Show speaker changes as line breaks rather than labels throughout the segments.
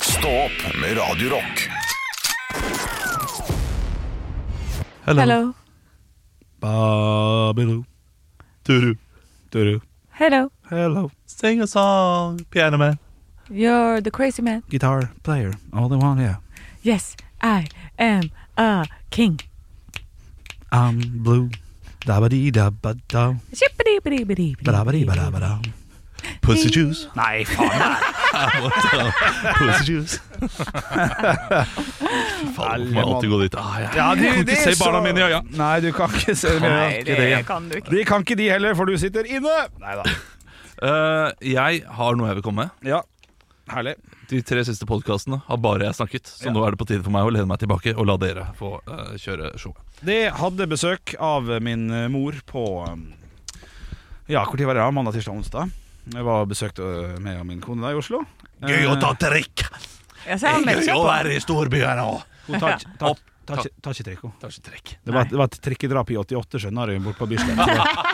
Stå opp med Radio Rock.
Hello.
Hello.
Babyloo. Doo-doo. Doo-doo.
Hello.
Hello. Sing a song. Piano man.
You're the crazy man.
Guitar player. All the one, yeah.
Yes, I am a king.
I'm blue. Da ba dee da ba da. Ba da ba dee ba da ba da. Pussy juice. Nei, faen. Pussy juice.
Faen, må jeg alltid gå dit. Ah, ja.
du,
Jeg kan ikke se barna mine i øya.
Nei, du kan ikke se dem i øya.
Nei, det kan du ikke.
De kan ikke de heller, for du sitter inne. Nei da.
Eh, jeg har noe jeg vil komme med.
Ja. Herlig.
De tre siste podkastene har bare jeg snakket, så nå er det på tide for meg å lene meg tilbake og la dere få eh, kjøre showet.
De hadde besøk av min eh, mor på eh, Ja, hvor tid var det? da? Mandag, tirsdag, onsdag. Jeg var og besøkte eh, meg og min kone da i Oslo. Eh,
trikk!
Jeg ser han melder seg på.
være i storbyen nå.
Eh, Hun tar ikke- tar-
Opp.
tar ikke- tar ikke trikk, hun.
Tar ikke trekk.
Det var, det var et trikkedrap i 88, skjønner du, bort på Bislett. Så-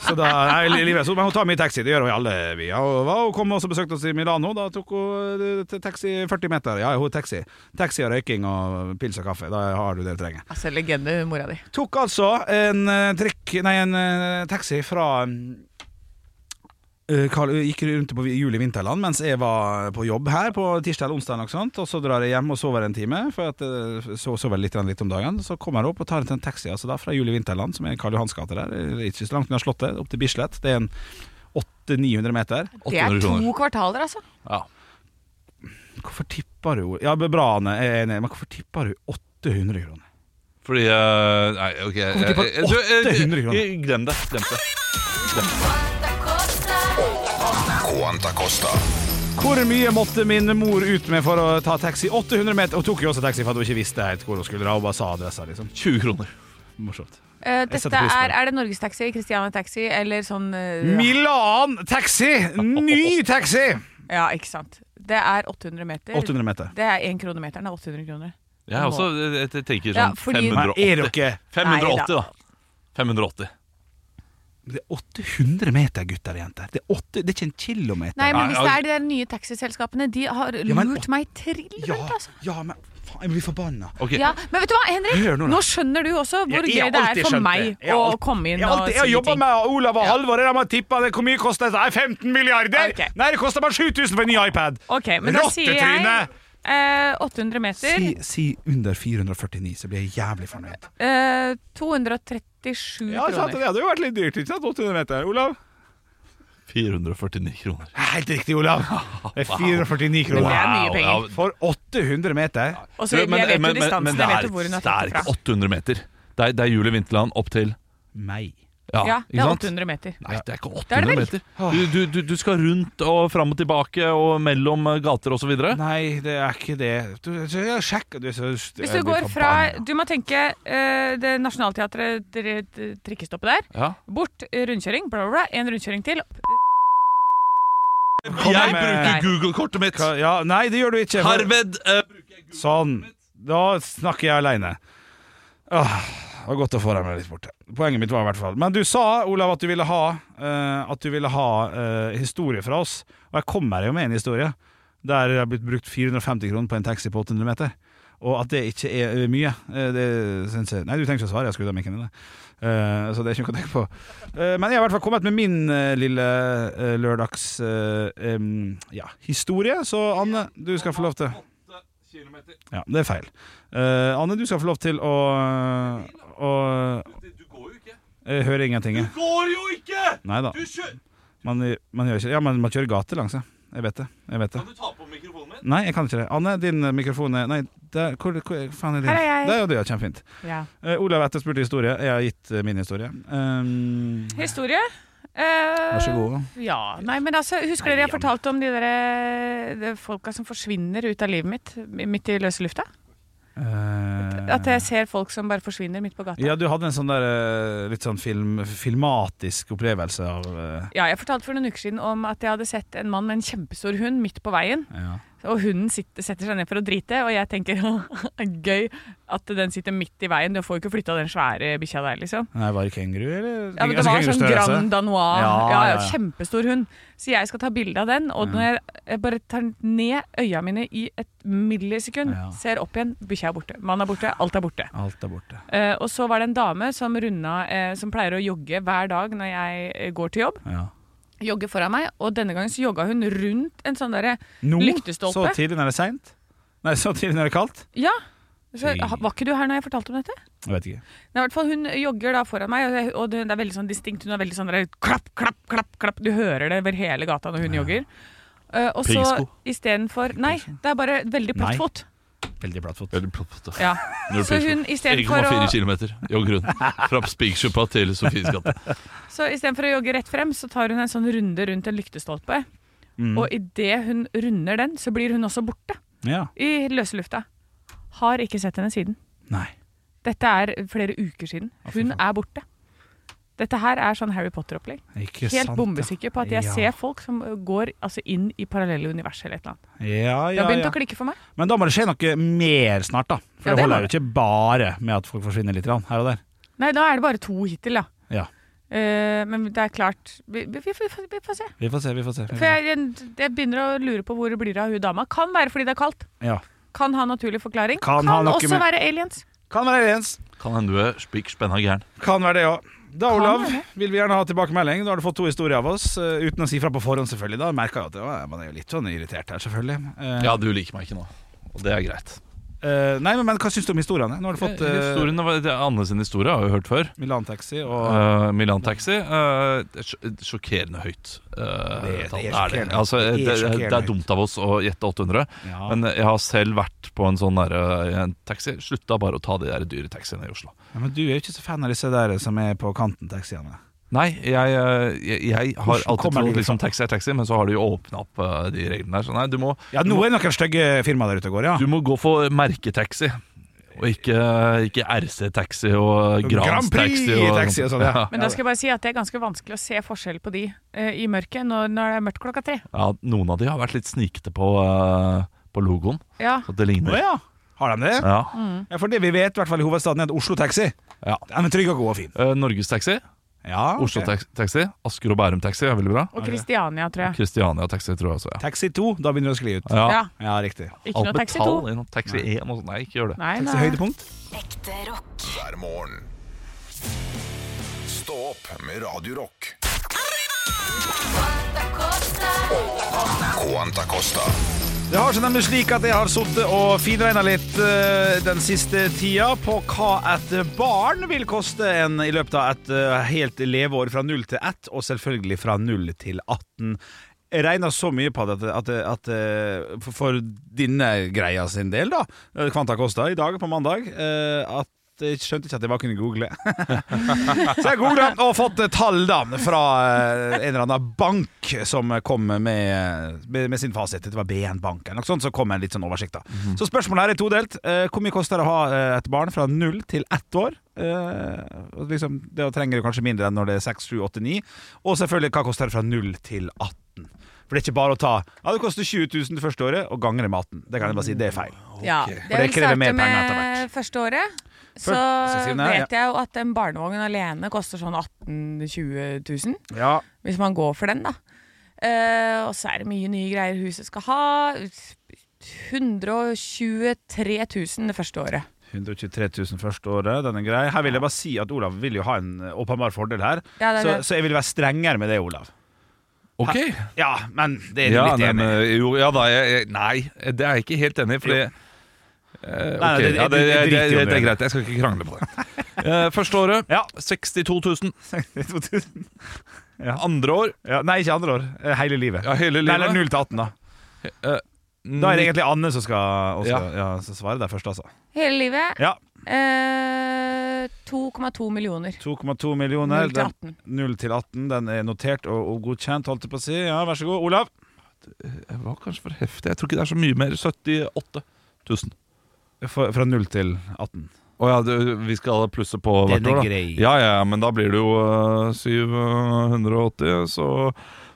Så da, nei, li- livet er sånn, men hun tar mye taxi, det gjør hun i alle byer. Og hva, Hun kom også og besøkte oss i Milano, da tok hun eh, til taxi 40 meter. Ja, hun er taxi. Taxi og røyking og pils og kaffe, da har du det du trenger.
Altså, legende, mora di.
Tok altså en eh, trikk, nei, en eh, taxi fra mm, eh, Karl, gikk rundt på jul i vinterland mens jeg var på jobb her på tirsdag eller onsdag. eller noe sånt, Og så drar jeg hjem og sover en time, for at eh, så sover litt, litt om dagen. Så kommer jeg opp og tar en taxi altså da, fra jul i vinterland, som er Karl Johans gate der. eh, Ikke så langt unna Slottet, opp til Bislett. Det er en 800-900 meter.
Det er
800
to
kroner.
kvartaler, altså.
Ja.
Hvorfor tipper du Ja, bra, Anne, jeg er enig, men hvorfor tipper du 800 kroner?
Fordi eh, Nei, OK. jeg-
Kom ikke på
jeg- jeg tror- jeg-
800 kroner.
jeg- Glem det. Glem det.
Quanta Costa.
Hvor mye måtte min mor ut med for å ta taxi? 800 meter. Hun tok jo også taxi for at hun ikke visste helt hvor hun skulle dra. Hun bare sa adressa, liksom.
20 kroner.
Morsomt.
Eh,
Jeg setter
dette
pris på
er,
det.
er det Norgestaxi, Christiane Taxi eller sånn eh,
Milan taxi! Ny taxi!
Ja, ikke sant. Det er 800 meter.
800 meter.
Det er én krone meteren. Det er 800 kroner.
Jeg, er også, jeg, jeg tenker
Ja,
sånn
fordi-
Nei, er
580.
dere
580, da. 580.
Det er 800 meter, gutter og jenter. Det er, åtte, det er ikke en kilometer.
Nei, men
Nei,
hvis det er de der nye taxiselskapene, de har
men
lurt
åt-
meg trill
ja,
rundt, altså.
ja, men faen, jeg blir forbanna.
Ok,
Ja, men vet du hva, Henrik?
Hør nå, da.
nå, skjønner du også hvor
Jeg- jeg har
gøy det
alltid
er for
skjønt
meg
det. Jeg har
å
alltid-
komme inn
Jeg har
og
alltid- jeg har
si
jobba
ting.
med Olav og Halvor. De har tippa hvor mye koster dette. Nei, 15 milliarder!
Ok.
Nei, det koster bare 7000 for en ny iPad!
Ok, men da sier jeg
Rottetryne!
eh, 800 meter.
Si, si under 449, så blir jeg jævlig fornøyd.
Eh, 237
Ja,
kroner.
sant, det hadde jo vært litt dyrt, ikke sant? 800 meter, Olav?
449 kroner.
Helt riktig, Olav. Det er 449
det
kroner.
er mye
Wow,
penger.
ja.
For 800 meter?
Og så jeg
Men-
vet jo
men- men- men
distansen,
det
jeg
er-
vet jo hvor hun har
Det er
tatt det
ikke
fra.
800 meter. Det er, det er Julie Vinterland opp til
Meg.
Ja,
Ja, det
ikke
er
sant?
800 meter.
Nei, det er ikke
Det er
800
det vel.
meter. Du, du, du, du skal rundt og fram og tilbake og mellom eh, gater osv.
Nei, det er ikke det. Du, så jeg sjekker du, så
Hvis du går fra Du må tenke eh, det Nationaltheatret, dr- dr- trikkestoppet der,
Ja.
bort eh, rundkjøring, bla, bla, bla, en rundkjøring til.
Jeg
med-
bruker Google-kortet mitt!
ja, Nei, det gjør du ikke. for-
Herved eh,
Sånn. Da snakker jeg aleine. Ah, Det var godt å få deg med litt borte. Poenget mitt var i hvert fall Men du sa, Olav, at du ville ha eh, At du ville ha eh, historie fra oss. Og jeg kommer jo med en historie der jeg har blitt brukt 450 kroner på en taxi på 800 meter. Og at det ikke er eh, mye, eh, det syns jeg Nei, du trenger ikke å svare, jeg har skrudd av mikken din. eh, så det er ikke noe å tenke på. Eh, men jeg har i hvert fall kommet med min eh, lille eh, lørdags eh, em, ja, historie, så Anne, du skal få lov til ja, det er feil. Eh, Anne, du skal få lov til å, å
Du går jo ikke!
Jeg hører ingenting. jeg.
Går jo ikke!
Nei da. Man, man gjør ikke Ja, men man kjører gatelangs, ja. Jeg vet det. Jeg vet det.
du ta på mikrofonen min?
Nei, jeg kan ikke det. Anne, din eh, mikrofon er Nei, der, hvor, hvor faen er din?
Her er jeg.
Der, ja, du, ja, kjempefint.
Ja.
Eh, Olav etterspurte historie. Jeg har gitt eh, min historie. Um,
Historie. Eh,
vær så god.
Ja, nei, men altså, Husker dere jeg fortalte om de der eh, de folka som forsvinner ut av livet mitt? Midt i løse lufta?
Eh,
At jeg ser folk som bare forsvinner midt på gata?
ja, du hadde en sånn der eh, litt sånn film, filmatisk opplevelse av eh,
Ja, jeg fortalte for noen uker siden om at jeg hadde sett en mann med en kjempestor hund midt på veien.
ja.
Og hunden sitter, setter seg ned for å drite, og jeg tenker gøy at den sitter midt i veien. Du får jo ikke flytta den svære bikkja der, liksom.
Nei, var det kenguru, eller?
Ja, men Det
Altså,
var sånn
kengurustørrelse.
Grand Danois. Ja,
Ja,
ja,
ja, ja.
Kjempestor hund. Så jeg skal ta bilde av den. Og når jeg, jeg bare tar ned øya mine i et millisekund,
Ja.
ser opp igjen, bikkja er borte. Mannen er borte, alt er borte.
Alt er borte.
Eh, og så var det en dame som runda eh, Som pleier å jogge hver dag når jeg eh, går til jobb.
Ja.
Jogge foran meg, og denne gangen så jogga hun rundt en sånn derre
Nå,
Lyktestolpe.
så tidlig når det er seint? Nei, så tidlig når det er kaldt?
Ja! Så,
Fy.
ha- var ikke du her når jeg fortalte om dette?
Jeg vet ikke.
Nei, i hvert fall Hun jogger da foran meg, og det- og det det er veldig sånn distinkt. Hun er veldig sånn der, klapp, klapp, klapp, klapp. Du hører det over hele gata når hun jogger. Eh, og så
Piggsko.
istedenfor Nei, det er bare veldig
Nei.
platt fot.
Veldig plattfot.
Veldig platt fot, da.
Ja.
Null
Så
pris på.
hun istedenfor
1,4
å,
km jogger hun fra Spikersuppa til Sofies gate.
så i stedet for å jogge rett frem, så tar hun en sånn runde rundt en lyktestolpe.
Mm.
Og idet hun runder den, så blir hun også borte
Ja.
i løse lufta. Har ikke sett henne siden.
Nei.
Dette er flere uker siden.
Å, fy
Hun
faen.
er borte. Dette her er sånn Harry Potter-opplegg.
Ikke
helt
sant,
bombesikker på at jeg
Ja.
ser folk som går altså, inn i parallelle univers eller et eller annet.
Ja, ja,
Det
ja.
har begynt å klikke for meg.
Men da må det skje noe mer snart, da. For
Ja,
det
det
holder
må
jo ikke bare med at folk forsvinner litt grann her og der.
Nei, da er det bare to hittil, da.
Ja.
Eh, men det er klart Vi, vi, vi, vi, vi får se.
Vi får se, vi får se.
For
Vi får se.
jeg, jeg, jeg begynner å lure på hvor det blir av hun dama. Kan være fordi det er kaldt.
Ja.
Kan ha naturlig forklaring.
Kan ha noe
også
med-
være aliens.
Kan være aliens.
Kan hende du er spikk spenna gæren.
Kan være det òg. Da,
Kan
Olav,
være det.
vil vi gjerne ha tilbakemelding. Da har du fått to historier av oss, eh, uten å si fra på forhånd, selvfølgelig. Da merker jeg at ja, man er jo litt sånn irritert her, selvfølgelig. Eh,
Ja, du liker meg ikke nå. Og det er greit.
eh, nei, men, men hva syns du om historiene? Nå har du fått eh,
Historien, var- det er Anne sin historie har jeg hørt før.
Milan Taxi og
Uh, Milan Taxi uh, det er sj- sjokkerende høyt. Uh,
Det er- det er
tall.
sjokkerende.
Altså,
Det er
det, det,
sjokkerende
det er dumt av oss å gjette 800,
ja.
men jeg har selv vært på en sånn der, uh, en taxi. Slutta bare å ta de der dyre taxiene i Oslo.
Ja, men du er jo ikke så fan av disse der som er på kanten-taxiene.
Nei, jeg, uh, jeg, jeg har
Hvordan
alltid
kommer de
trodd liksom, taxi er taxi, men så har de jo åpna opp uh, de reglene der. Så nei, du må,
Ja, nå er det noen stygge firmaer der ute og går, ja.
du må gå for merketaxi. Og ikke, ikke RC-taxi og Grans
Grand Prix
taxi. Og,
taxi og sånn, ja.
Men da skal jeg bare si at det er ganske vanskelig å se forskjell på de eh, i mørket når, når det er mørkt klokka tre.
ja, Noen av de har vært litt snikete på, uh, på logoen,
Ja.
så det
Å
ligner.
ja. Har de det?
Ja.
Mm.
Ja, for det vi vet, i hvert fall i hovedstaden, er at Oslo Taxi
Ja.
Den er trygg og god og fin.
Eh, Norges Taxi,
Ja, ok.
Oslo Tax- Taxi, Asker og Bærum Taxi er veldig bra.
Og Kristiania, tror jeg.
Kristiania Taxi tror jeg også, ja.
Taxi 2, da begynner det å skli ut.
ja.
Ja,
Ja, riktig.
Ikke noe taxi
tall
2.
inn, og Taxi 1 og sånn. Nei, ikke gjør det.
Nei,
Taxi
nei.
høydepunkt.
Ekte rock.
hver morgen. Stå opp med Radio Rock. Quanta Costa.
Det har seg nemlig slik at jeg har sittet og finregna litt eh, den siste tida på hva et barn vil koste en i løpet av et eh, helt leveår fra 0 til 1, og selvfølgelig fra 0 til 18. Jeg regna så mye på det at, at, at eh, for, for denne greia sin del, da, eh, Kvanta Kosta, i dag på mandag, eh, at jeg skjønte ikke at jeg bare kunne google. Så jeg googla og fått eh, tall da fra eh, en eller annen bank som kom med, med, med sin fasit. Det var BN Bank eller noe sånt. Så kom en litt sånn oversikt. da Så spørsmålet her er todelt. Eh, Hvor mye koster det å ha eh, et barn fra null til ett år? Eh, og liksom, det trenger du kanskje mindre enn når det er seks, sju, åtte, ni. Og selvfølgelig, hva koster det fra null til 18? For det er ikke bare å ta Ja, det koster 20 000 det første året, og ganger det med 18. Det kan jeg bare si, det er feil.
Ja,
For det
jeg vil
krever
starte
mer penger etter
med
hvert.
første året. Så
Skal jeg si den her,
vet jeg jo at en barnevogn alene koster sånn 18 000-20 000,
Ja,
hvis man går for den, da. Eh, og så er det mye nye greier huset skal ha. 123 000 det første året.
123 000 første året, den er grei. Her vil jeg bare si at Olav vil jo ha en eh, åpenbar fordel her.
Ja, det er
så,
det.
så jeg vil være strengere med det, Olav.
Ok.
Ja, men det er du
Ja,
litt
nei,
enig i.
men, jo, ja da, jeg, jeg, nei, det er jeg ikke helt enig i, fordi
Jo.
eh, Ok,
nei, det-
ja, det, det,
det-
det,
det-
det,
det
er greit. Jeg skal ikke krangle på det. Eh, første året
Ja.
62 000.
62 000.
Andre år
Ja, nei, ikke andre år. Eh, Hele livet.
ja, hele
Nei, eller
livet.
0 til 18, da.
Eh,
Da er det egentlig Anne som skal, og skal
Ja.
ja. så svare der først, altså.
Hele livet
Ja.
eh, 2,2 millioner.
2,2 millioner.
0 til 18.
0 til 18. Den er notert og, og godkjent, holdt jeg på å si. Ja, vær så god, Olav.
Jeg var kanskje for heftig. Jeg tror ikke det er så mye mer. 78 000.
Fra, fra 0 til 18.
Å ja, du, vi skal plusse på
Den
hvert
er
år, da.
grei.
Ja, ja, men da blir det jo øh, 780, eh, så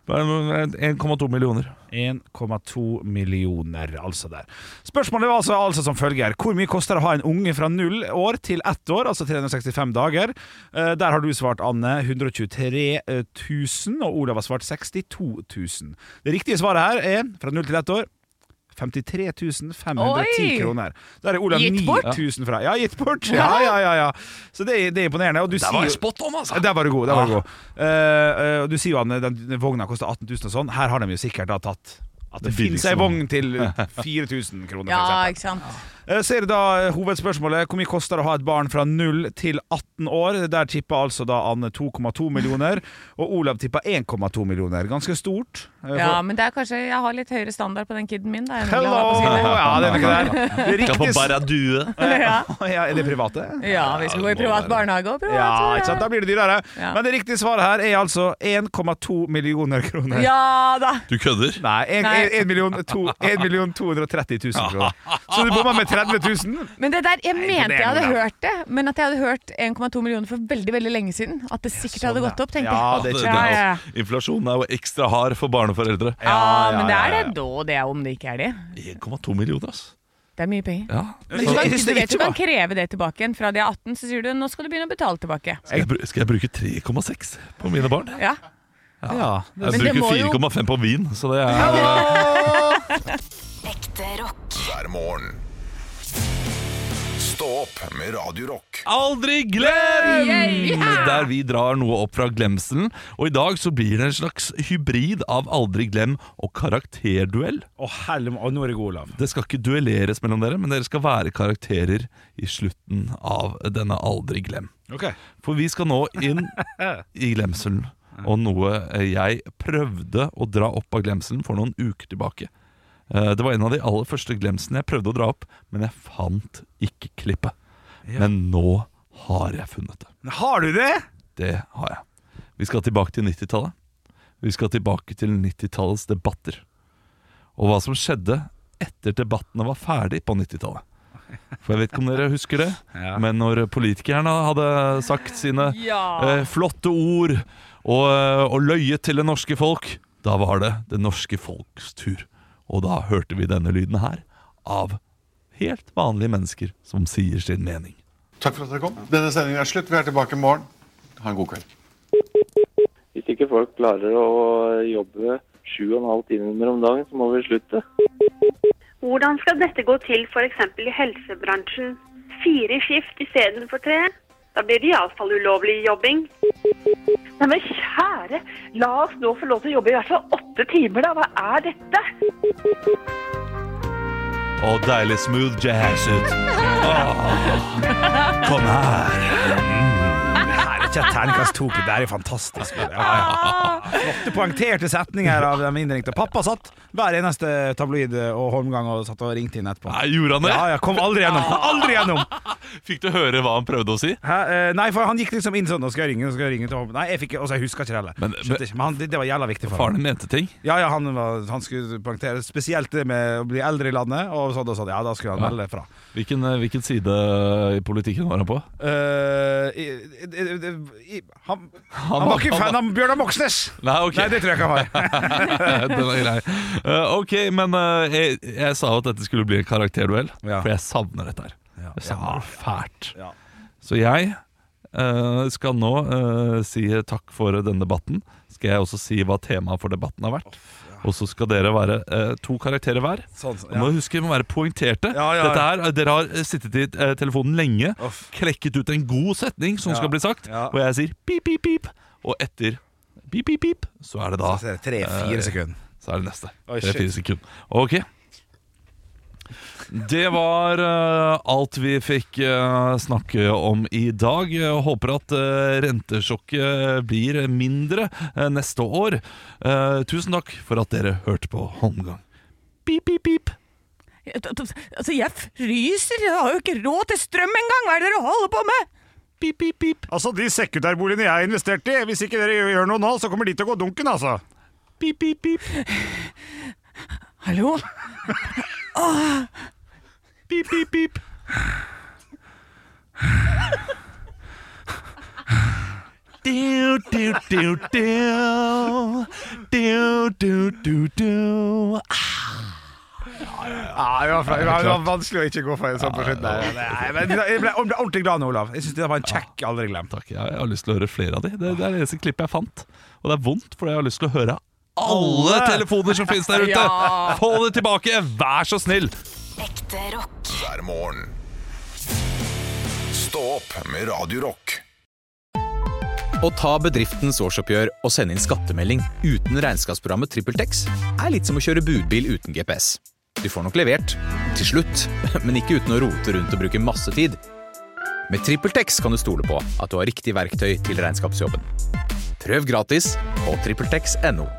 Bare 1,2 millioner.
1,2 millioner, altså der. Spørsmålet var altså, altså som følger. Hvor mye koster det å ha en unge fra null år til ett år, altså 365 dager? Eh, der har du svart, Anne, 123 000, og Olav har svart 62 000. Det riktige svaret her er, fra null til ett år, 53 510
Oi!
kroner. Der er Olav
Gitt bort?
9000 fra. Ja, gitt bort! Ja, ja, ja, ja. Så det, er- det er imponerende. Og du
Der
sier
var
jo-
jeg spot on, altså!
der var du god. Der var du
Ja.
god. Eh, eh, og du sier jo at den, den vogna koster 18 000 og sånn. Her har de jo sikkert da tatt at det,
Den
finnes
billigste
ei vogn til 4000 kroner.
Ja,
for eksempel.
ikke sant.
Eh, Så er det da eh, hovedspørsmålet hvor mye koster det å ha et barn fra 0 til 18 år. Der tippa altså da Anne 2,2 millioner, og Olav tippa 1,2 millioner. Ganske stort. eh, for-
Ja, men det er kanskje jeg har litt høyere standard på den kiden min. Da, enn Olav
Hello!
har på sine.
Ja, det er ikke der. Det
Skal på
riktige
Barradue.
Ja.
ja, Er det private?
ja, vi skal gå i privat barnehage og privat
Ja, ikke sant? Da blir det dyrere.
Ja.
Men det riktige svaret her er altså 1,2 millioner kroner.
Ja da!
Du kødder?
Nei, en-
Nei.
en- en million to- en million 230 000 kroner. Så du bomma med 30 000?
Men det der, Jeg
det er
mente jeg hadde
Olav.
hørt det, men at jeg hadde hørt 1,2 millioner for veldig veldig lenge siden. At det sikkert hadde
sånn,
gått opp, tenkte
Ja,
jeg.
det er
Det-
ikke
ja,
det
ja.
er altså- Inflasjonen er jo ekstra hard for barneforeldre.
Ja,
Ja, ja,
men det
ja,
er
ja.
det da, og det er om det ikke er det.
1,2 millioner, altså.
Det er mye penger.
Ja.
Men
Så-
du, kan,
Hvis
du
det
vet du
ikke var-
kan kreve det tilbake igjen. Fra de er 18, så sier du nå skal du begynne å betale tilbake.
Skal jeg, bru- skal jeg bruke 3,6 på mine barn? Jeg
Ja.
Ja.
Men det
bruker
må jo-
4,5 på vin, så det er
Ekte rock.
hver morgen. Stå opp med Radio Rock.
Aldri glem!
Yay!
Der vi drar noe opp fra glemselen. Og i dag så blir det en slags hybrid av aldri glem og karakterduell.
Å, helm, å, nå er det god, Olav.
Det skal ikke duelleres mellom dere, men dere skal være karakterer i slutten av denne aldri glem.
Ok.
For vi skal nå inn i glemselen. Og noe eh, jeg prøvde å dra opp av glemselen for noen uker tilbake. Eh, Det var en av de aller første glemselene jeg prøvde å dra opp, men jeg fant ikke klippet. Men nå har jeg funnet det.
Har du det?
Det har jeg. Vi skal tilbake til 90-tallet. Vi skal tilbake til 90-tallets debatter. Og hva som skjedde etter debattene var ferdig på 90-tallet. For jeg vet ikke om dere husker det,
Ja.
men når politikerne hadde sagt sine
Ja.
eh, flotte ord og, eh, og løyet til det norske folk, da var det det norske folks tur. Og da hørte vi denne lyden her av helt vanlige mennesker som sier sin mening.
Takk for at dere kom. Denne sendingen er slutt. Vi er tilbake i morgen. Ha en god kveld.
Hvis ikke folk klarer å jobbe sju og en halv timer om dagen, så må vi slutte.
Hvordan skal dette gå til f.eks. i helsebransjen? Fire i skift istedenfor tre? Da blir det iallfall ulovlig jobbing.
Nei, men kjære, la oss nå få lov til å jobbe i hvert fall åtte timer, da. Hva er dette?
Og deilig smooth jazz ut. Åh, kom her.
Nei, det er ikke et terningkast to. Det er jo fantastisk. Ja, ja. Flotte poengterte setninger av dem innringte. Pappa satt hver eneste tabloid og Holmgang og satt og ringte inn etterpå.
Nei, gjorde han det?
Ja, ja, kom aldri gjennom. Aldri gjennom!
Fikk du høre hva han prøvde å si?
Hæ? Eh, Nei, for han gikk liksom inn sånn Nå skal jeg ringe, nå skal jeg ringe til Holmgang. Nei, jeg fikk ikke Og så jeg husker ikke det heller.
Men-
Skjønte ikke, Men han, det, det var jævla viktig for ham.
Faren din mente ting.
Ja, ja, han, var, han skulle poengtere spesielt det med å bli eldre i landet, og sånn og sånn. Ja, da skulle han
Ja.
melde fra.
Hvilken, eh, hvilken side i politikken var han på?
Eh, i, i, i, i, han, han,
var-
var ikke
han
fan
var-
av Bjørnar Moxnes!
Nei, ok.
Nei, det tror jeg ikke han var.
Den er grei. Eh, ok, men eh, jeg, jeg sa jo at dette skulle bli en karakterduell,
Ja.
for jeg savner dette her. Jeg
sånn,
savner det fælt.
Ja.
Så jeg eh, skal nå eh, si takk for denne debatten. Skal jeg også si hva temaet for debatten har vært. Og så skal dere være eh, to karakterer hver.
Sånn, sånn,
Du må huske å være poengterte.
Ja, ja, ja.
Dette her, Dere har sittet i eh, telefonen lenge,
Uff.
klekket ut en god setning som
Ja,
skal bli sagt,
ja.
og jeg sier pip, pip, pip. Og etter pip, pip, pip, så er det da
Så er det
Eh,
Tre-fire sekunder.
så er det neste.
Oi, shit.
Tre-fire sekunder. Ok. Det var eh, alt vi fikk eh, snakke om i dag. Jeg håper at eh, rentesjokket blir mindre eh, neste år. Eh, tusen takk for at dere hørte på Holmgang. Pip, pip, pip.
Altså, jeg fryser! Jeg har jo ikke råd til strøm engang! Hva er det dere holder på med?
Pip, pip, pip.
Altså, de sekundærboligene jeg har investert i, hvis ikke dere gjør noe nå, så kommer de til å gå dunken, altså.
Pip, pip, pip.
Hallo?
Pip, pip, pip. Du, du, du, du. Du, du, du, du.
Ja, det var, fra, det var- det var vanskelig å ikke gå for en sånn på slutten. der. Nei, men Jeg ble, jeg ble ordentlig glad nå, Olav. Jeg syns det var en kjekk aldri glemt.
Takk, jeg, jeg har lyst til å høre flere av de Det, det er det eneste klippet jeg fant Og det er vondt, for jeg har lyst til å høre alle
Alle!
telefoner som finnes der ute
Ja.
Få det tilbake, vær så snill
Ekte rock.
hver morgen. Stå opp med Radio Rock.
Å ta bedriftens årsoppgjør og sende inn skattemelding uten regnskapsprogrammet TrippelTex er litt som å kjøre budbil uten GPS. Du får nok levert, til slutt, men ikke uten å rote rundt og bruke masse tid. Med TrippelTex kan du stole på at du har riktig verktøy til regnskapsjobben. Prøv gratis på TrippelTex.no.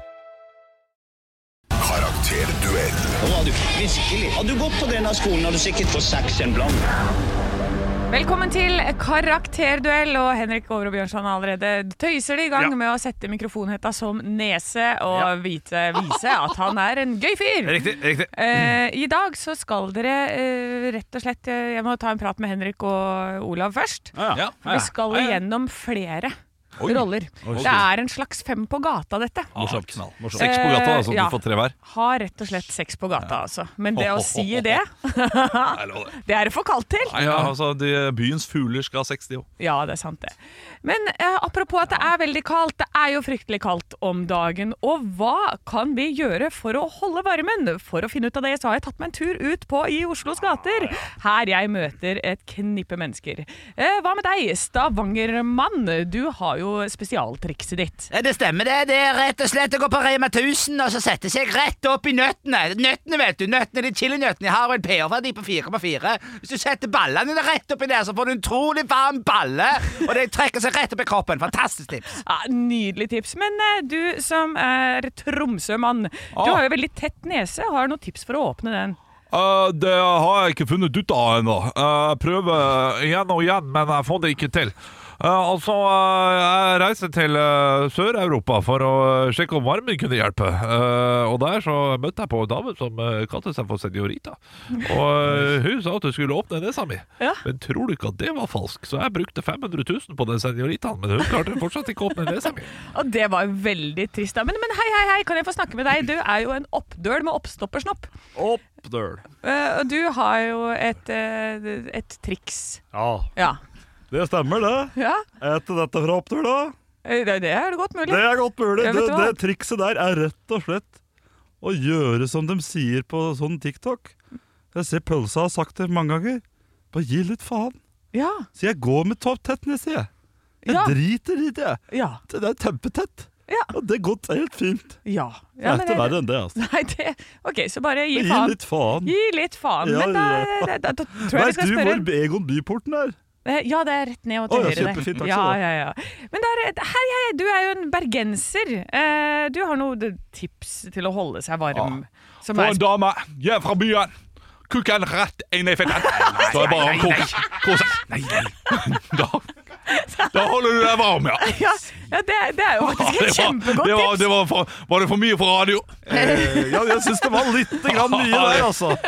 Karakterduell
Velkommen til Karakterduell. Og Henrik Over og Bjørnson har allerede tøyser det i gang
Ja.
med å sette mikrofonhetta som nese og vite, vise at han er en gøy fyr.
Riktig. riktig
Eh, I dag så skal dere eh, rett og slett eh, Jeg må ta en prat med Henrik og Olav først.
Ja, ja.
Vi skal igjennom flere roller. Det er en slags fem på gata, dette.
Ah. Seks på gata, altså,
Eh, ja.
du får tre hver
Har rett og slett sex på gata, altså. Men det å si det, det er det for kaldt til.
ja, altså, de, Byens fugler skal ha seks, de også
Ja, det er sant det. Men eh, apropos at det er veldig kaldt, det er jo fryktelig kaldt om dagen. Og hva kan vi gjøre for å holde varmen? For å finne ut av det så har jeg tatt meg en tur ut på i Oslos gater, her jeg møter et knippe mennesker. Eh, hva med deg, Stavangermann? Du har jo spesialtrikset ditt.
Ja, Det stemmer det. Det er rett og slett å gå på Rema 1000 og så sette seg rett opp i nøttene. Nøttene, vet du. Nøttene, De chilinøttene. Jeg har jo en pH-verdi på 4,4. Hvis du setter ballene dine rett oppi der, så får du en utrolig varm balle. Og de trekker seg rett opp i kroppen. Fantastisk tips.
Ja, nydelig tips. Men eh, du som er Tromsø-mann, du har jo veldig tett nese. Har du noen tips for å åpne den?
Eh, det har jeg ikke funnet ut av ennå. Eh, Jeg prøver igjen og igjen, men jeg får det ikke til. Eh, altså, eh, jeg reiser til eh, Sør-Europa for å eh, sjekke om varmen kunne hjelpe. Eh, og der så møtte jeg på en dame som uh, kalte seg for Senorita. Og eh, hun sa at hun skulle åpne nesa mi.
Ja.
Men tror du ikke at det var falsk? Så jeg brukte 500 000 på den Senoritaen, men hun klarte fortsatt ikke å åpne nesa mi.
Og det var veldig trist. da. Men, men hei, hei, hei, kan jeg få snakke med deg? Du er jo en oppdøl med oppstoppersnopp.
Oppdøl.
Eh, og du har jo et, eh, et triks.
Ja,
Ja.
det stemmer, det.
ja.
Etter dette fra opptur, da.
eh, Det, det er det godt mulig.
Det er godt mulig.
Ja,
Det,
vet du hva?
det trikset der er rett og slett å gjøre som de sier på sånn TikTok. Jeg ser pølsa har sagt det mange ganger. Bare gi litt faen.
Ja.
Så jeg går med topp tett nese, jeg. Jeg
Ja.
driter i det. jeg.
Ja.
Det er kjempetett.
Ja.
Og det går helt fint.
Ja.
Det
ja
er ikke
men
verre enn det, altså.
Nei, det OK, så bare gi
Gi
faen.
litt faen.
Gi litt faen.
Ja,
Men da,
ja.
da, da, da tror jeg vi
Veit
skal
du
spørre
hvor Egon Byporten er?
Eh, Ja, det er rett ned
Å,
og til
ja,
høyre.
kjempefint, takk skal du
ja,
ha.
ja, ja. Men der, hei, hei, du er jo en bergenser. Eh, Du har noen tips til å holde seg varm. Som
Få
er
en dame. Jeg er fra byen. Kukken rett inn i fitten. Så er det bare å kose kose seg. Da, da holder du deg varm, ja.
ja, ja det, er- det er jo
Ja,
faktisk et kjempegodt
det var,
tips.
det var, for, var det for mye for radio?
Ja, jeg syns det var litt grann mye der, altså.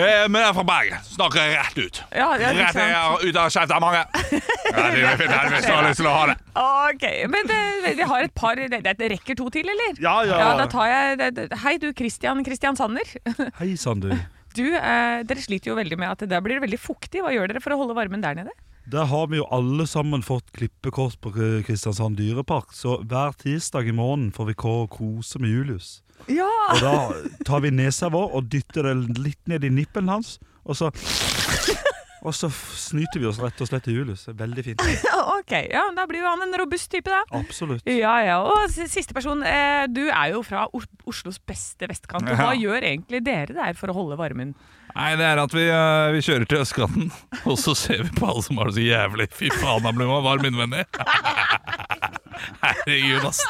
Eh, men jeg er fra Bergen. Snakker jeg rett ut.
Ja, ja, ikke
Rett
sant.
her, ut av kjeftemanget. Rett inn i fitten hvis du har lyst til å ha det.
Ok, men det, vi har et par det, det det rekker to til, eller?
Ja, ja.
da tar jeg det, det. Hei du, Christian Christian Sander.
Hei sann, du.
Du, eh, dere sliter jo veldig med at det der blir det veldig fuktig. Hva gjør dere for å holde varmen der nede?
Der har vi jo alle sammen fått klippekort på eh, Kristiansand dyrepark, så hver tirsdag i morgen får vi gå og kose med Julius.
Ja!
Og da tar vi nesa vår og dytter den litt ned i nippelen hans, og så Og så f- snyter vi oss rett og slett til Julius. Det er Veldig fint.
Ok, ja, men da blir jo han en robust type, da.
Absolutt.
Ja, ja. Og s- siste person, eh, du er jo fra Os- Oslos beste vestkant. og Hva gjør egentlig dere der for å holde varmen?
Nei, det er at vi, eh, vi kjører til østkanten, og så ser vi på alle som har det så jævlig. Fy faen, han ble man varm innvendig. Herregud, ass.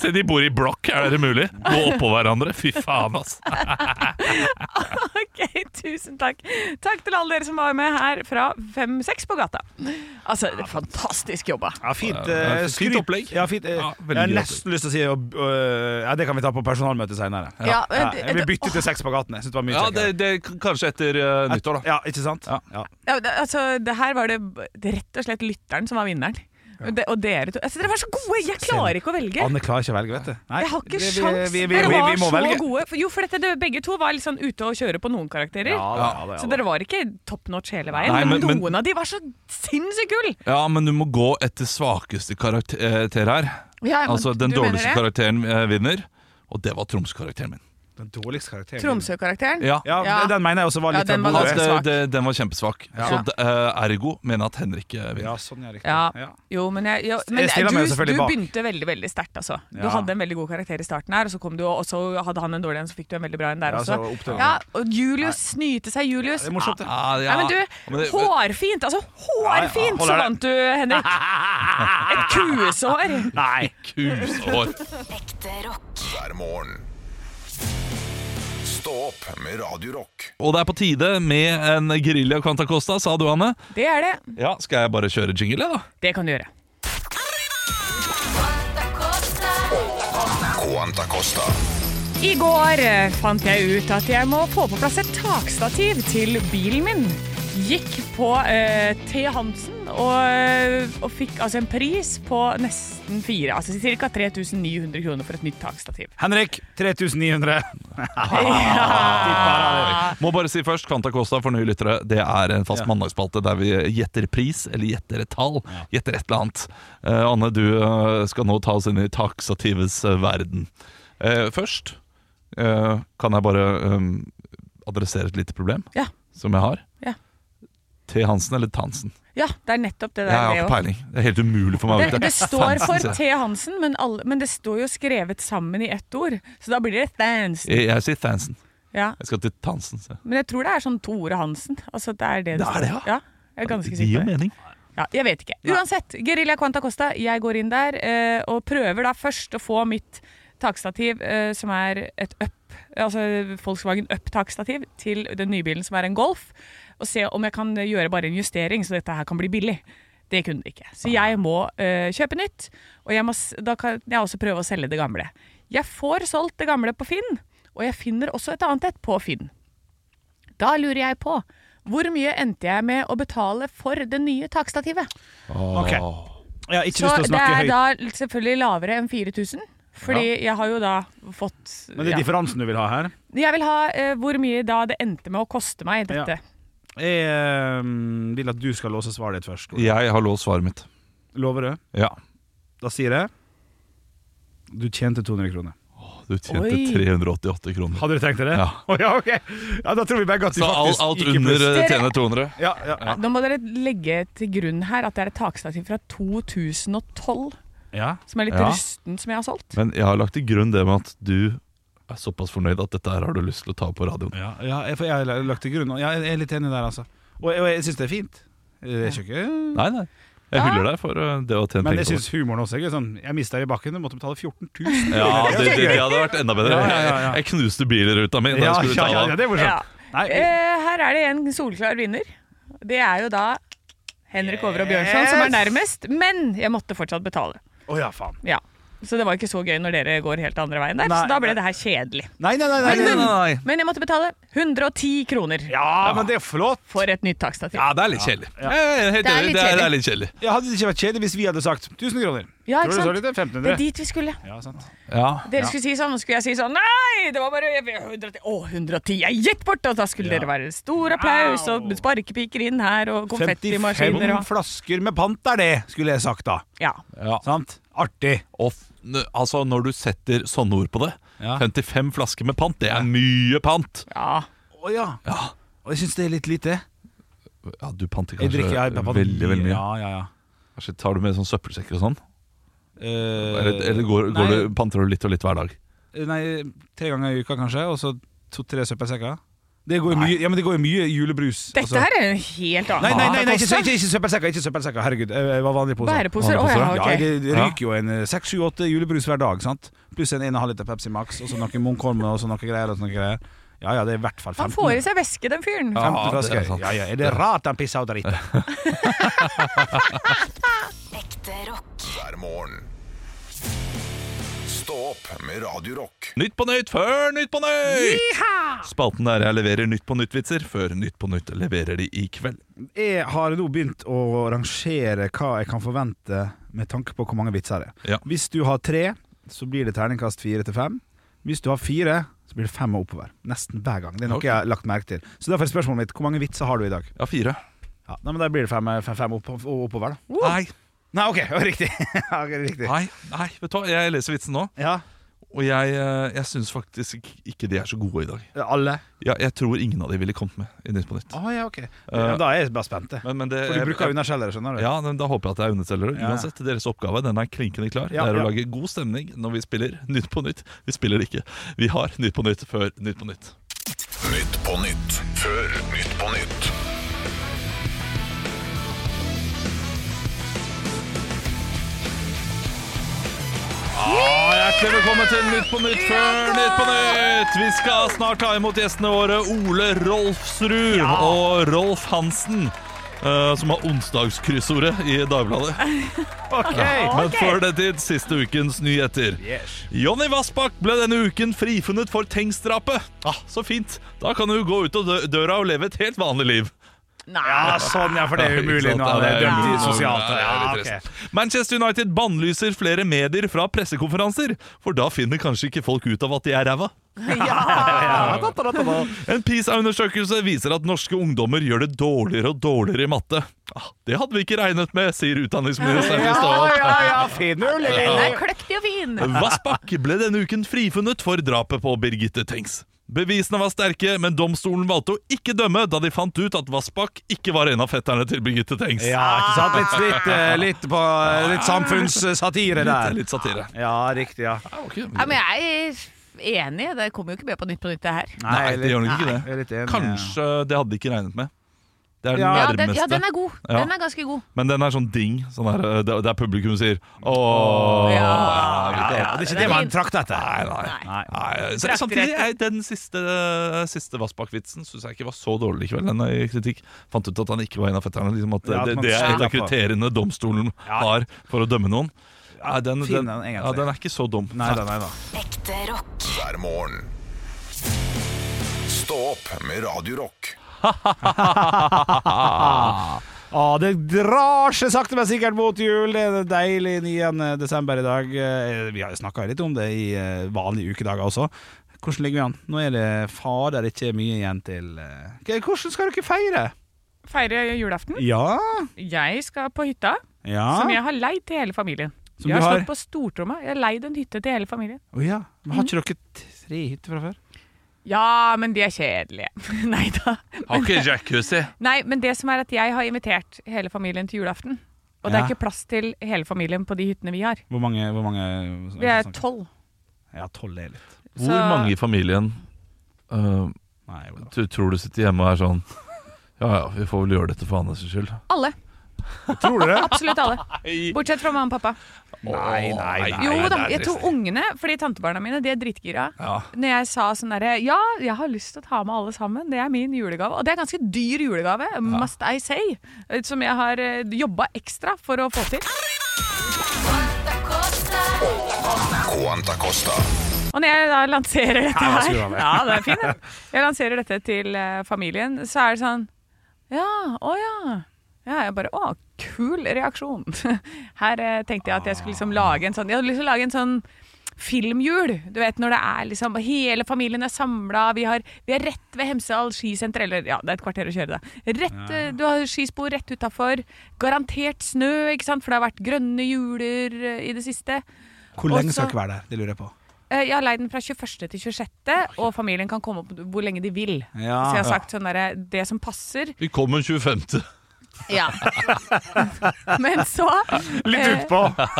Se, de bor i blokk, er det mulig? Gå oppå hverandre. Fy faen, ass.
Ok, tusen takk. Takk til alle dere som var med her fra 5-6 på gata. Altså, det er fantastisk jobba.
Ja, fint,
eh, fint skryt. opplegg. Ja, fint, eh, Ja, veldig jeg har gøy nesten
lyst til å si Ja, det kan vi ta på personalmøtet seinere.
Ja, Ja, eh, jeg vil det- bytte
til seks på gaten. Jeg syns det var
Ja, det, det k- kanskje etter eh, nyttår, da.
ikke sant?
Ja, det, altså, det her var det b- det er rett og slett lytteren som var vinneren. Det, og dere to altså, Dere var så gode! Jeg klarer ikke å velge.
Anne klarer ikke å velge, vet du. Nei,
jeg har ikke
vi- vi-
sjans.
vi- vi-
dere
vi-
var
vi må
så
velge.
gode. For, jo, for dette, det, begge to var litt sånn ute og kjøre på noen karakterer.
Ja, da, ja, da, ja,
Så
da.
dere var ikke top notch hele veien.
Nei,
men,
men- men-
noen av de var så sinnssykt gull!
Ja, men du må gå etter svakeste karakter her.
Ja, men
altså, den
du mener
dårligste
det?
karakteren eh, vinner. Og det var Troms-karakteren min.
Den dårligste karakteren.
Tromsø-karakteren.
Ja.
Ja, den- den mener jeg også var
Ja,
litt
den var
dårlig.
At,
ganske
eh,
svak.
det, den var kjempesvak.
Ja.
Så eh, ergo mener jeg at Henrik eh,
Ja,
vinner.
sånn er riktig.
Ja.
Ja.
Jo, men, jeg, jo, men
Jeg stiller meg jo
du,
selvfølgelig
du
bak.
begynte veldig veldig sterkt. Altså. Du
Ja.
hadde en veldig god karakter i starten, her og så, kom du, og så hadde han en dårlig en, så fikk du en veldig bra en der
Ja,
også.
så opp til
Ja, og Julius snyte seg, Julius.
Det er morsomt, det.
Ah,
Nei,
ja.
men
Men
du,
det-
hårfint! Altså,
Ja, ja,
hårfint
holder
så
det.
vant du, Henrik. Et kuesår.
Nei.
Kusår.
hver morgen. Stå opp med Radio Rock.
Og det er på tide med en gerilja Quanta Costa, sa du, Anne.
Det er det.
Ja, Skal jeg bare kjøre jingle, jeg, da?
Det kan du gjøre.
Quanta Costa.
I går eh, fant jeg ut at jeg må få på plass et takstativ til bilen min. Gikk på eh, T. Hansen og, og fikk altså en pris på nesten fire, altså ca. 3900 kroner for et nytt takstativ.
Henrik, 3900.
Ja.
Må bare si først, Quanta Costa for nye lyttere Det er en fast mandagsspalte der vi gjetter pris, eller gjetter et tall. Gjetter et eller annet. Eh, Anne, du eh, skal nå ta oss inn i taksativets eh, verden. Eh, først eh, kan jeg bare eh, adressere et lite problem
Ja.
som jeg har.
Ja.
T. Hansen eller Tansen?
ja, det er nettopp det
Jeg
der.
har
det
ikke
også.
peiling. Det er helt umulig for meg å
Det,
vite.
det står
Tansen,
for
sier jeg.
T. Hansen, men, alle, men det står jo skrevet sammen i ett ord. Så da blir det Thansen.
Jeg, jeg sier Tansen.
Ja.
Jeg skal til Tansen. sier jeg.
Men jeg tror det er sånn Tore Hansen. Altså, det er det
Det er det, ja.
står. ja. Jeg er ganske
Det gir
sikker.
jo
på det.
mening.
Ja, jeg vet ikke. Uansett, Guerilla Quanta Costa, jeg går inn der eh, og prøver da først å få mitt takstativ, eh, som er et up, altså Volkswagen Up-takstativ, til den nye bilen som er en Golf, og se om jeg kan gjøre bare en justering, så dette her kan bli billig. Det kunne det ikke. Så jeg må eh, kjøpe nytt, og jeg må, s- da kan jeg også prøve å selge det gamle. Jeg får solgt det gamle på Finn, og jeg finner også et annet et på Finn. Da lurer jeg på, hvor mye endte jeg med å betale for det nye takstativet?
Ok. Jeg har ikke
Så
lyst til å
det
snakke
er
høyt,
da selvfølgelig lavere enn 4000. Fordi jeg har jo da fått
men det er differansen du vil ha her.
ja. Jeg vil ha eh, hvor mye da det endte med å koste meg, dette.
Jeg eh, vil at du skal låse svaret ditt først.
Jeg har låst svaret mitt.
Lover du?
Ja.
Da sier jeg du tjente 200 kroner.
Du tjente
Oi.
388 kroner.
Hadde du tenkt deg det?
Ja.
Å, ja, ok. ja, da tror vi begge at vi
Så alt,
faktisk
alt
gikk i
under
pluss.
eh, tjene 200?
Ja, ja. Ja.
Nå må dere legge til grunn her at det er et takstativ fra 2012 som er litt
Ja.
rusten, som jeg har solgt.
Men jeg har lagt til grunn det med at du er såpass fornøyd at dette her har du lyst til å ta på radioen.
Ja, ja, jeg, for jeg har lagt til grunn. og Jeg jeg er litt enig der, altså. Og jeg, og jeg syns det er fint. Det er ikke
Nei, nei. Jeg
Mm. Ja.
hyller deg for eh, det å tjene
Men jeg
penger på
syns humoren også er gøy. Sånn, jeg mista i bakken, du måtte betale 14 000.
det. Ja, det, det, det hadde vært enda bedre.
Ja, ja, ja, ja.
Jeg knuste bilruta mi da
Ja,
jeg skulle
ja,
ta
ja,
av.
ja, det er
Ja.
morsomt. Nei, vi-
Eh, her er det en solklar vinner. Det er jo da Henrik Over og Bjørnson som er nærmest. Men jeg måtte fortsatt betale.
Å ja, faen.
Ja. Så det var ikke så gøy når dere går helt andre veien der.
Nei,
så da
nei.
ble det her kjedelig.
Nei, nei, nei. nei, nei, nei.
Men jeg måtte betale 110 kroner
Ja, men det er flott.
for et nytt takstativ.
Ja, det er litt kjedelig. Ja, jeg er helt
Det er
enig. Det er-
litt
det er
kjedelig.
litt kjedelig.
Jeg hadde det ikke vært kjedelig hvis vi hadde sagt 1000 kroner.
Ja,
Tror
ikke
du
sant?
så litt?
Det er
1500?
dit vi skulle.
Ja, sant.
Ja.
Dere skulle si sånn, og skulle jeg si sånn Nei, det var bare 110. Å, 110 er gitt bort! Og da skulle
Ja.
dere være stor applaus og sparkepiker inn her og
55
konfettimaskiner og
flasker med pant er det, skulle jeg sagt da.
Ja.
ja.
Sant? Artig.
Og f n- altså, når du setter sånne ord på det
Ja.
55 flasker med pant, det er mye pant!
ja.
Å ja. Og jeg syns det er litt lite.
Ja, du panter
Jeg
kanskje
drikker jeg,
veldig, veldig mye.
Ja, ja, ja.
Kanskje tar du med sånn søppelsekker og sånn?
Eh,
Eller, eller går, går
nei,
du, panter du litt og litt hver dag?
Nei, tre ganger i uka kanskje, og så to-tre søppelsekker. Det går jo mye, ja, men det går jo mye julebrus.
Dette
altså.
her er en helt annen
Nei, nei, nei, nei ikke,
Costa.
ikke, ikke søppelsekker, ikke søppelsekker. Herregud, eh, hva var vanlige poser?
Bæreposer. Å ja,
Ja,
ok.
jeg ryker jo en eh, seks, sju, åtte julebrus hver dag, sant? Pluss en 1,5 liter Pepsi Max, og så noen Munkholm og så noen greier. Og så noen greier. Ja, ja, det er i hvert fall 15.
Han får i seg væske, den fyren.
15
Ja, det er
flasker.
sant.
Ja, ja, er det rart han pisser og driter?
hver morgen. Stå opp med Radio Rock.
Nytt på nytt før Nytt på nytt! Spalten der jeg leverer Nytt på nytt-vitser før Nytt på nytt leverer de i kveld.
Jeg har nå begynt å rangere hva jeg kan forvente med tanke på hvor mange vitser det er.
Ja.
Hvis du har tre, så blir det terningkast fire til fem. Hvis du har fire, så blir det fem og oppover. Nesten hver gang. Det er noe
Ok.
jeg har lagt merke til. Så derfor er spørsmålet mitt hvor mange vitser har du i dag?
Ja, fire.
Ja, nei, men Da blir det fem, fem, fem opp, og oppover, da.
Nei,
Nei, OK, ja, riktig. Ja, ok, riktig.
nei, nei, vet du hva? Jeg leser vitsen nå,
Ja,
og jeg, eh, jeg syns faktisk ikke- ikke de er så gode i dag.
alle?
Ja, jeg tror ingen av de ville kommet med i Nytt på nytt.
Å ja, OK. eh, Ja, da er jeg bare spent. jeg.
Men, men det,
Ah. For du bruker underskjellere, skjønner du.
Ja, men Da håper jeg at jeg er underselgere.
Ja.
Uansett, deres oppgave den er klinkende klar.
Ja,
det er
ja.
å lage god stemning når vi spiller Nytt på nytt. Vi spiller ikke. Vi har Nytt på nytt før Nytt på nytt.
Nytt på nytt før Nytt på nytt.
Ah, hjertelig velkommen til Nytt på nytt før Nytt på nytt! Vi skal snart ta imot gjestene våre Ole Rolfsrud og Rolf Hansen. eh, som har onsdagskryssordet i Dagbladet.
OK!
Men før den tid, siste ukens nyheter.
Yes.
Jonny Vassbakk ble denne uken frifunnet for tengstrapet. Ah, så fint. Da kan du gå ut av dø- døra og leve et helt vanlig liv.
Ja, sånn, ja, for det er umulig nå. Det er dømt i sosialt. Ja,
litt
ok.
trist. Manchester United bannlyser flere medier fra pressekonferanser, for da finner kanskje ikke folk ut av at de er ræva. En PISA-undersøkelse viser at norske ungdommer gjør det dårligere og dårligere i matte. Ah, det hadde vi ikke regnet med, sier utdanningsministeren. i stad.
Ja, ja, ja, finner du
Den
lille
er kløktig og fin!
Vassbakk ble denne uken frifunnet for drapet på Birgitte Tengs. Bevisene var sterke, men domstolen valgte å ikke dømme da de fant ut at Vassbakk ikke var en av fetterne til Birgitte Tengs.
Ja, ikke sant? Litt, litt, eh, litt, på, eh, litt
Det
samfunnssatire
er
der.
litt satire.
Ja, riktig, ja.
Ja, men jeg er enig. Det kommer jo ikke med på Nytt på nytt, det her.
Nei, det gjør nok ikke det.
jeg er litt enig,
Kanskje det hadde de ikke regnet med. Det er den
Ja.
Ja, den, ja,
nærmeste.
den er god.
Ja.
Den er ganske god.
Men den er sånn ding, sånn der, der, der publikum sier Åh ja,
Ja.
Ja,
vet
ja, det er ikke det man trakter etter. Nei, nei.
du. Nei, så- Samtidig, jeg, den siste, eh, siste Vassbakk-vitsen syns jeg ikke var så dårlig i kveld. Den i kritikk fant ut at han ikke var en av fetterne. Liksom at
Ja, at
det,
man
det er et
skylder
av
på.
kriteriene domstolen
Ja.
har for å dømme noen. Nei, den, den,
fin den, egentlig.
ja, den er ikke så dum.
Nei da, nei da.
Hver morgen. Stå opp med Radio Rock.
Ah, det drar seg sakte, men sikkert mot jul. Det er deilig 9. desember i dag. Eh, Vi har jo snakka litt om det i eh, vanlige ukedager også. Hvordan ligger vi an? Nå er det fader ikke mye igjen til eh, K- Hvordan skal dere feire?
Feire julaften.
Ja,
Jeg skal på hytta,
ja.
som jeg har leid til hele familien.
Ah. Som
jeg har
du har-
slått på stortromma. Jeg har leid en hytte til hele familien.
Å ja.
Mhm.
Men har ikke dere tre hytter fra før?
Ja, men de er kjedelige. Nei da.
Har ikke jacuzzi.
Nei, men det som er at jeg har invitert hele familien til julaften. Og det
Ja.
er ikke plass til hele familien på de hyttene vi har.
Hvor mange? Hvor mange
Vi er tolv.
Ja, tolv er litt.
Hvor
Så-
mange i familien øh,
Nei, Olav.
du tror du sitter hjemme og er sånn Ja ja, vi får vel gjøre dette for Anders sin skyld.
Alle.
Tror du det?
Absolutt alle. Bortsett fra mamma og pappa.
Nei, nei, nei.
Jo da,
det er
jeg tror
trist.
ungene, fordi tantebarna mine, de er drittgira.
Ja.
Når jeg sa sånn derre Ja, jeg har lyst til å ta med alle sammen. Det er min julegave. Og det er ganske dyr julegave, must I say. eh, Som jeg har jobba ekstra for å få til.
Quanta Costa.
Og når jeg da lanserer dette
Her, hva
her
skulle du ha med?
Ja, det er fint, den. Jeg lanserer dette til eh, familien, så er det sånn Ja, å ja. Ja, jeg bare Å, kul reaksjon. Her eh, tenkte jeg at jeg skulle liksom lage en sånn Jeg hadde lyst til å lage en sånn filmjul. Du vet når det er liksom Hele familien er samla, vi, har- vi er rett ved Hemsedal skisenter, eller ja, det er et kvarter å kjøre, da. Rett, eh, Du har skispor rett utafor. Garantert snø, ikke sant, for det har vært grønne juler eh, i det siste.
Hvor lenge
Også-
skal dere være der? Det lurer jeg på.
Eh, Jeg har leid den fra 21. til 26., og familien kan komme opp hvor lenge de vil.
Ja,
så jeg har sagt sånn derre Det som passer.
Vi kommer 25.
Men så
Litt
eh,
utpå!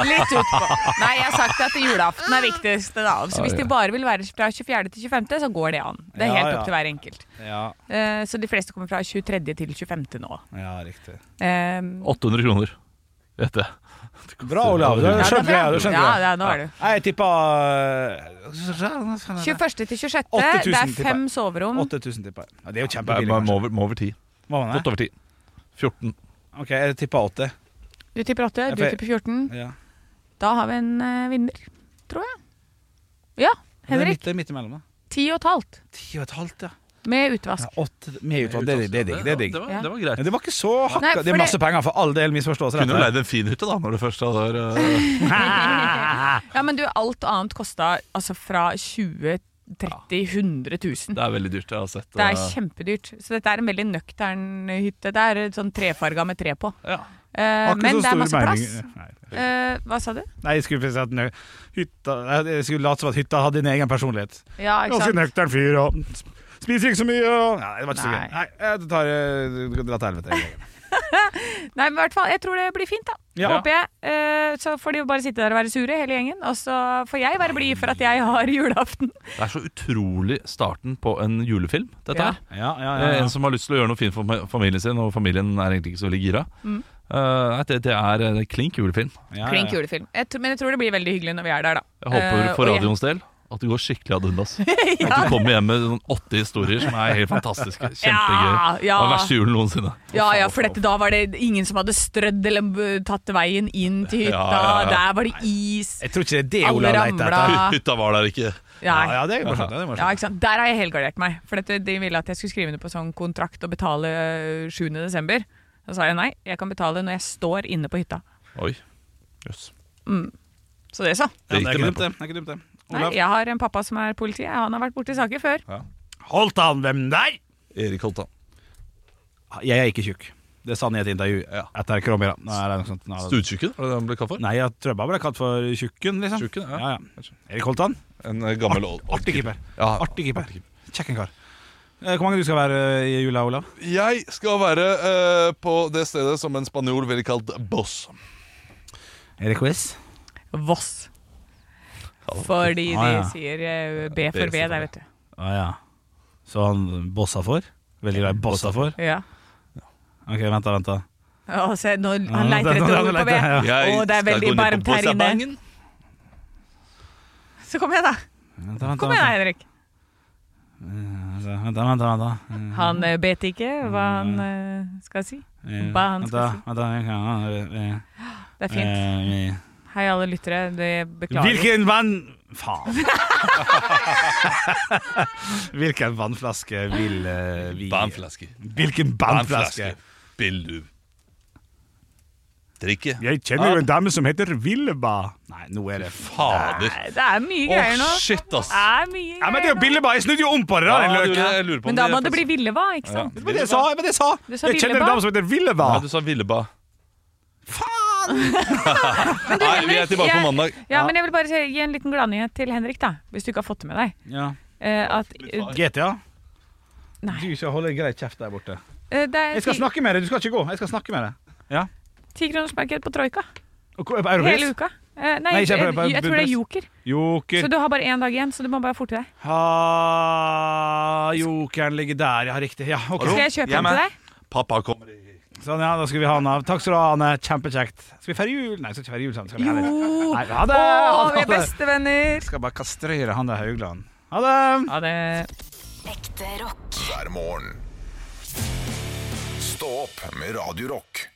Litt utpå. Nei, jeg har sagt at julaften er viktigste, da. Så hvis de bare vil være fra 24. til 25., så går det an. Det er
Ja,
helt
ja.
opp til hver enkelt.
Ja,
Eh, Så de fleste kommer fra 23. til 25. nå.
ja riktig.
Eh,
800 kroner, vet jeg.
Bra, Olav. Du
Ja,
ja,
skjønte
det er
greia. Du
bra.
skjønte
ja,
greia.
ja, nå er det jo.
Nei, Jeg eh, tippa
21. til 26.
8000
Det er
tipper jeg.
fem soverom.
8000 tippa jeg. Ja, det er jo
Bare-
kjempebillig.
bare Må
kanskje.
over, må over 10.
Hva var
Godt
det?
over 10. 14.
Ok, jeg tippa 80.
Du tipper 8, du
Jeg-
tipper 14.
Ja.
Da har vi en eh, vinner, tror jeg. Ja,
Det er
Henrik.
midt, det er midt imellom, da.
Ti og et halvt.
Ti og et halvt, ja.
Med utvask.
Åtte med utvalg. Det, er- det er digg. Det, er digg.
Det, var,
Ja.
det var greit.
Men det var ikke så
Nei,
hakka.
for
Det er masse
det-
penger, for all del misforståelser.
Kunne jo leid en fin hytte da når det først hadde eh,
Ja, men du, alt annet kosta altså fra 20 30 100 000.
Det er veldig dyrt. Jeg har sett
Det er kjempedyrt. Så dette er en veldig nøktern hytte. Det er sånn trefarga med tre på.
Ja.
Eh,
Har ikke
men
så
det er
stor
masse plass.
mening. Nei.
Eh, hva sa du?
Nei, jeg skulle faktisk si at nø- hytta, jeg skulle late som at hytta hadde en egen personlighet.
Ja, ikke
Ganske
sant?
nøktern fyr og sp- spiser ikke så mye og Nei, det var ikke så
Nei.
gøy. Nei, jeg tar eh, dra til helvete. jeg.
Nei, men i hvert fall, jeg tror det blir fint, da.
Ja.
Håper jeg. Eh, så får de jo bare sitte der og være sure, hele gjengen. Og så får jeg være blid for at jeg har julaften.
Det er så utrolig starten på en julefilm, dette
Ja.
her.
Ja, ja, ja,
Eh,
ja.
En som har lyst til å gjøre noe fint for fami- familien sin, og familien er egentlig ikke så veldig gira.
Mm.
Eh, nei, det, det er eh, klink julefilm.
Ja, ja,
Klink
ja.
julefilm. Jeg tror- men jeg tror det blir veldig hyggelig når vi er der, da.
Jeg håper
Eh,
for
og jeg-
radioens del at det går skikkelig ad undas. At du kommer hjem med sånn åtte historier som er helt fantastiske. Kjempegøy.
Ja, ja.
Det var verste julen noensinne.
Ja, ja, for dette, da var det ingen som hadde strødd eller b- tatt veien inn til hytta.
Ja, ja, ja.
Der var det is.
Jeg tror ikke det er det
Alle
Ola leter etter.
ramla.
Hytta var der ikke.
Ja,
Nei.
ja, det sånn. er jo morsomt. Ja, det er
Ja,
morsomt.
ikke sant? Der har jeg helgardert meg. For dette, de ville at jeg skulle skrive under på sånn kontrakt og betale 7. desember. Da sa jeg nei, jeg kan betale når jeg står inne på hytta.
Oi. Jøss.
Så det, så.
Ja, det er
gikk
ikke
det
dumt, det. det. er ikke dumt, det.
Nei,
Olav,
jeg har en pappa som er politi. Han har vært borti saker før.
holdt han hvem der?
Erik Holtan.
Jeg er ikke tjukk. Det sa han i et intervju etter Kromira. Nei, det er noe sånt. Nei, det-
Stuttjukken, var det det han ble kalt for?
Nei, jeg tror jeg bare ble kalt for tjukken, liksom.
Tjukken, ja.
Ja, ja. Erik Holtan.
En eh, gammel old-
Artig keeper.
Ja,
Artig keeper. Kjekken kar. Eh, Hvor mange du skal være eh, i jula, Olav?
Jeg skal være eh, på det stedet som en spanjol ville kalt boss.
Er det quiz?
Voss. Fordi
Ah, ja.
de sier eh, B for
B
B der,
for B.
vet du.
Ah, ja. Så han bossa for? Veldig glad i bossa for?
Ja.
Ok, vent da, vent da.
Å, se, nå, han
Ja,
leiter
Ah, nå-
etter
nå
ord på
leter
B.
jeg,
Å, det er veldig varmt her inne.
Bossabangen.
Så kom igjen, da.
Vent da, vent da,
Kom igjen, da,
vent da.
Henrik.
Vent da, vent da, vent da.
Han eh, vet ikke hva han eh, skal si.
Eh,
Hva han
vent
skal
Mm. da,
si.
vent da, jeg kan- eh,
Det er fint.
eh, eh.
Hei, alle lyttere. Det beklager.
Hvilken vann... Faen. Hvilken vannflaske vil eh, vi
Banflaske.
Hvilken vannflaske?
Vil du drikke?
Jeg kjenner jo en dame som heter Villeba. Nei, nå er det
Fader.
Nei, det er mye
Å,
greier nå.
shit, ass.
Det er mye
Ja, men
greier
det er jo
nå.
Billeba. Jeg snudde jo om på det. da,
Ja,
den
du, eh,
løk.
jeg lurer på om
Men da må det
faktisk-
bli Villeva, ikke sant?
Det var det jeg sa. det var det jeg sa.
Du sa
Jeg kjenner en
Villeba.
dame som heter Villeba.
Nei, du sa Villeba.
Men du,
Nei, vi er
Henrik,
tilbake på
jeg-
mandag.
Ja, men jeg vil bare si- gi en liten gladnyhet til Henrik, da. Hvis du ikke har fått det med deg.
Ja.
Eh, at, eh,
GTA?
Nei.
Du skal holde greit kjeft der borte.
eh, det er
Jeg skal
ti,
snakke med deg, du skal ikke gå. Jeg skal snakke med deg.
tikronersmarked på Troika
Og, og,
hele
Europris?
uka. Eh, nei,
Nei,
jeg,
ikke
jeg,
Europa,
jeg tror det er
Budapest.
Joker. Så
Joker.
du har bare én dag igjen, så du må bare forte deg.
Ha, jokeren ligger der, ja, riktig. Ja, ok.
Skal jeg kjøpe
Jeg er
den til
med.
deg?
Pappa kommer i
Sånn, ja, da skal vi ha den av. Takk skal du ha, Anne. Kjempekjekt. Skal vi feire jul? Nei, vi skal ikke feire jul sammen. Skal vi ha det?
Jo!
Nei, ha det!
Å, vi er
Ha det.
bestevenner!
Jeg skal bare kastrere han der Haugland. Ha det!
Ha det.
hver morgen. Stå opp med Radio Rock.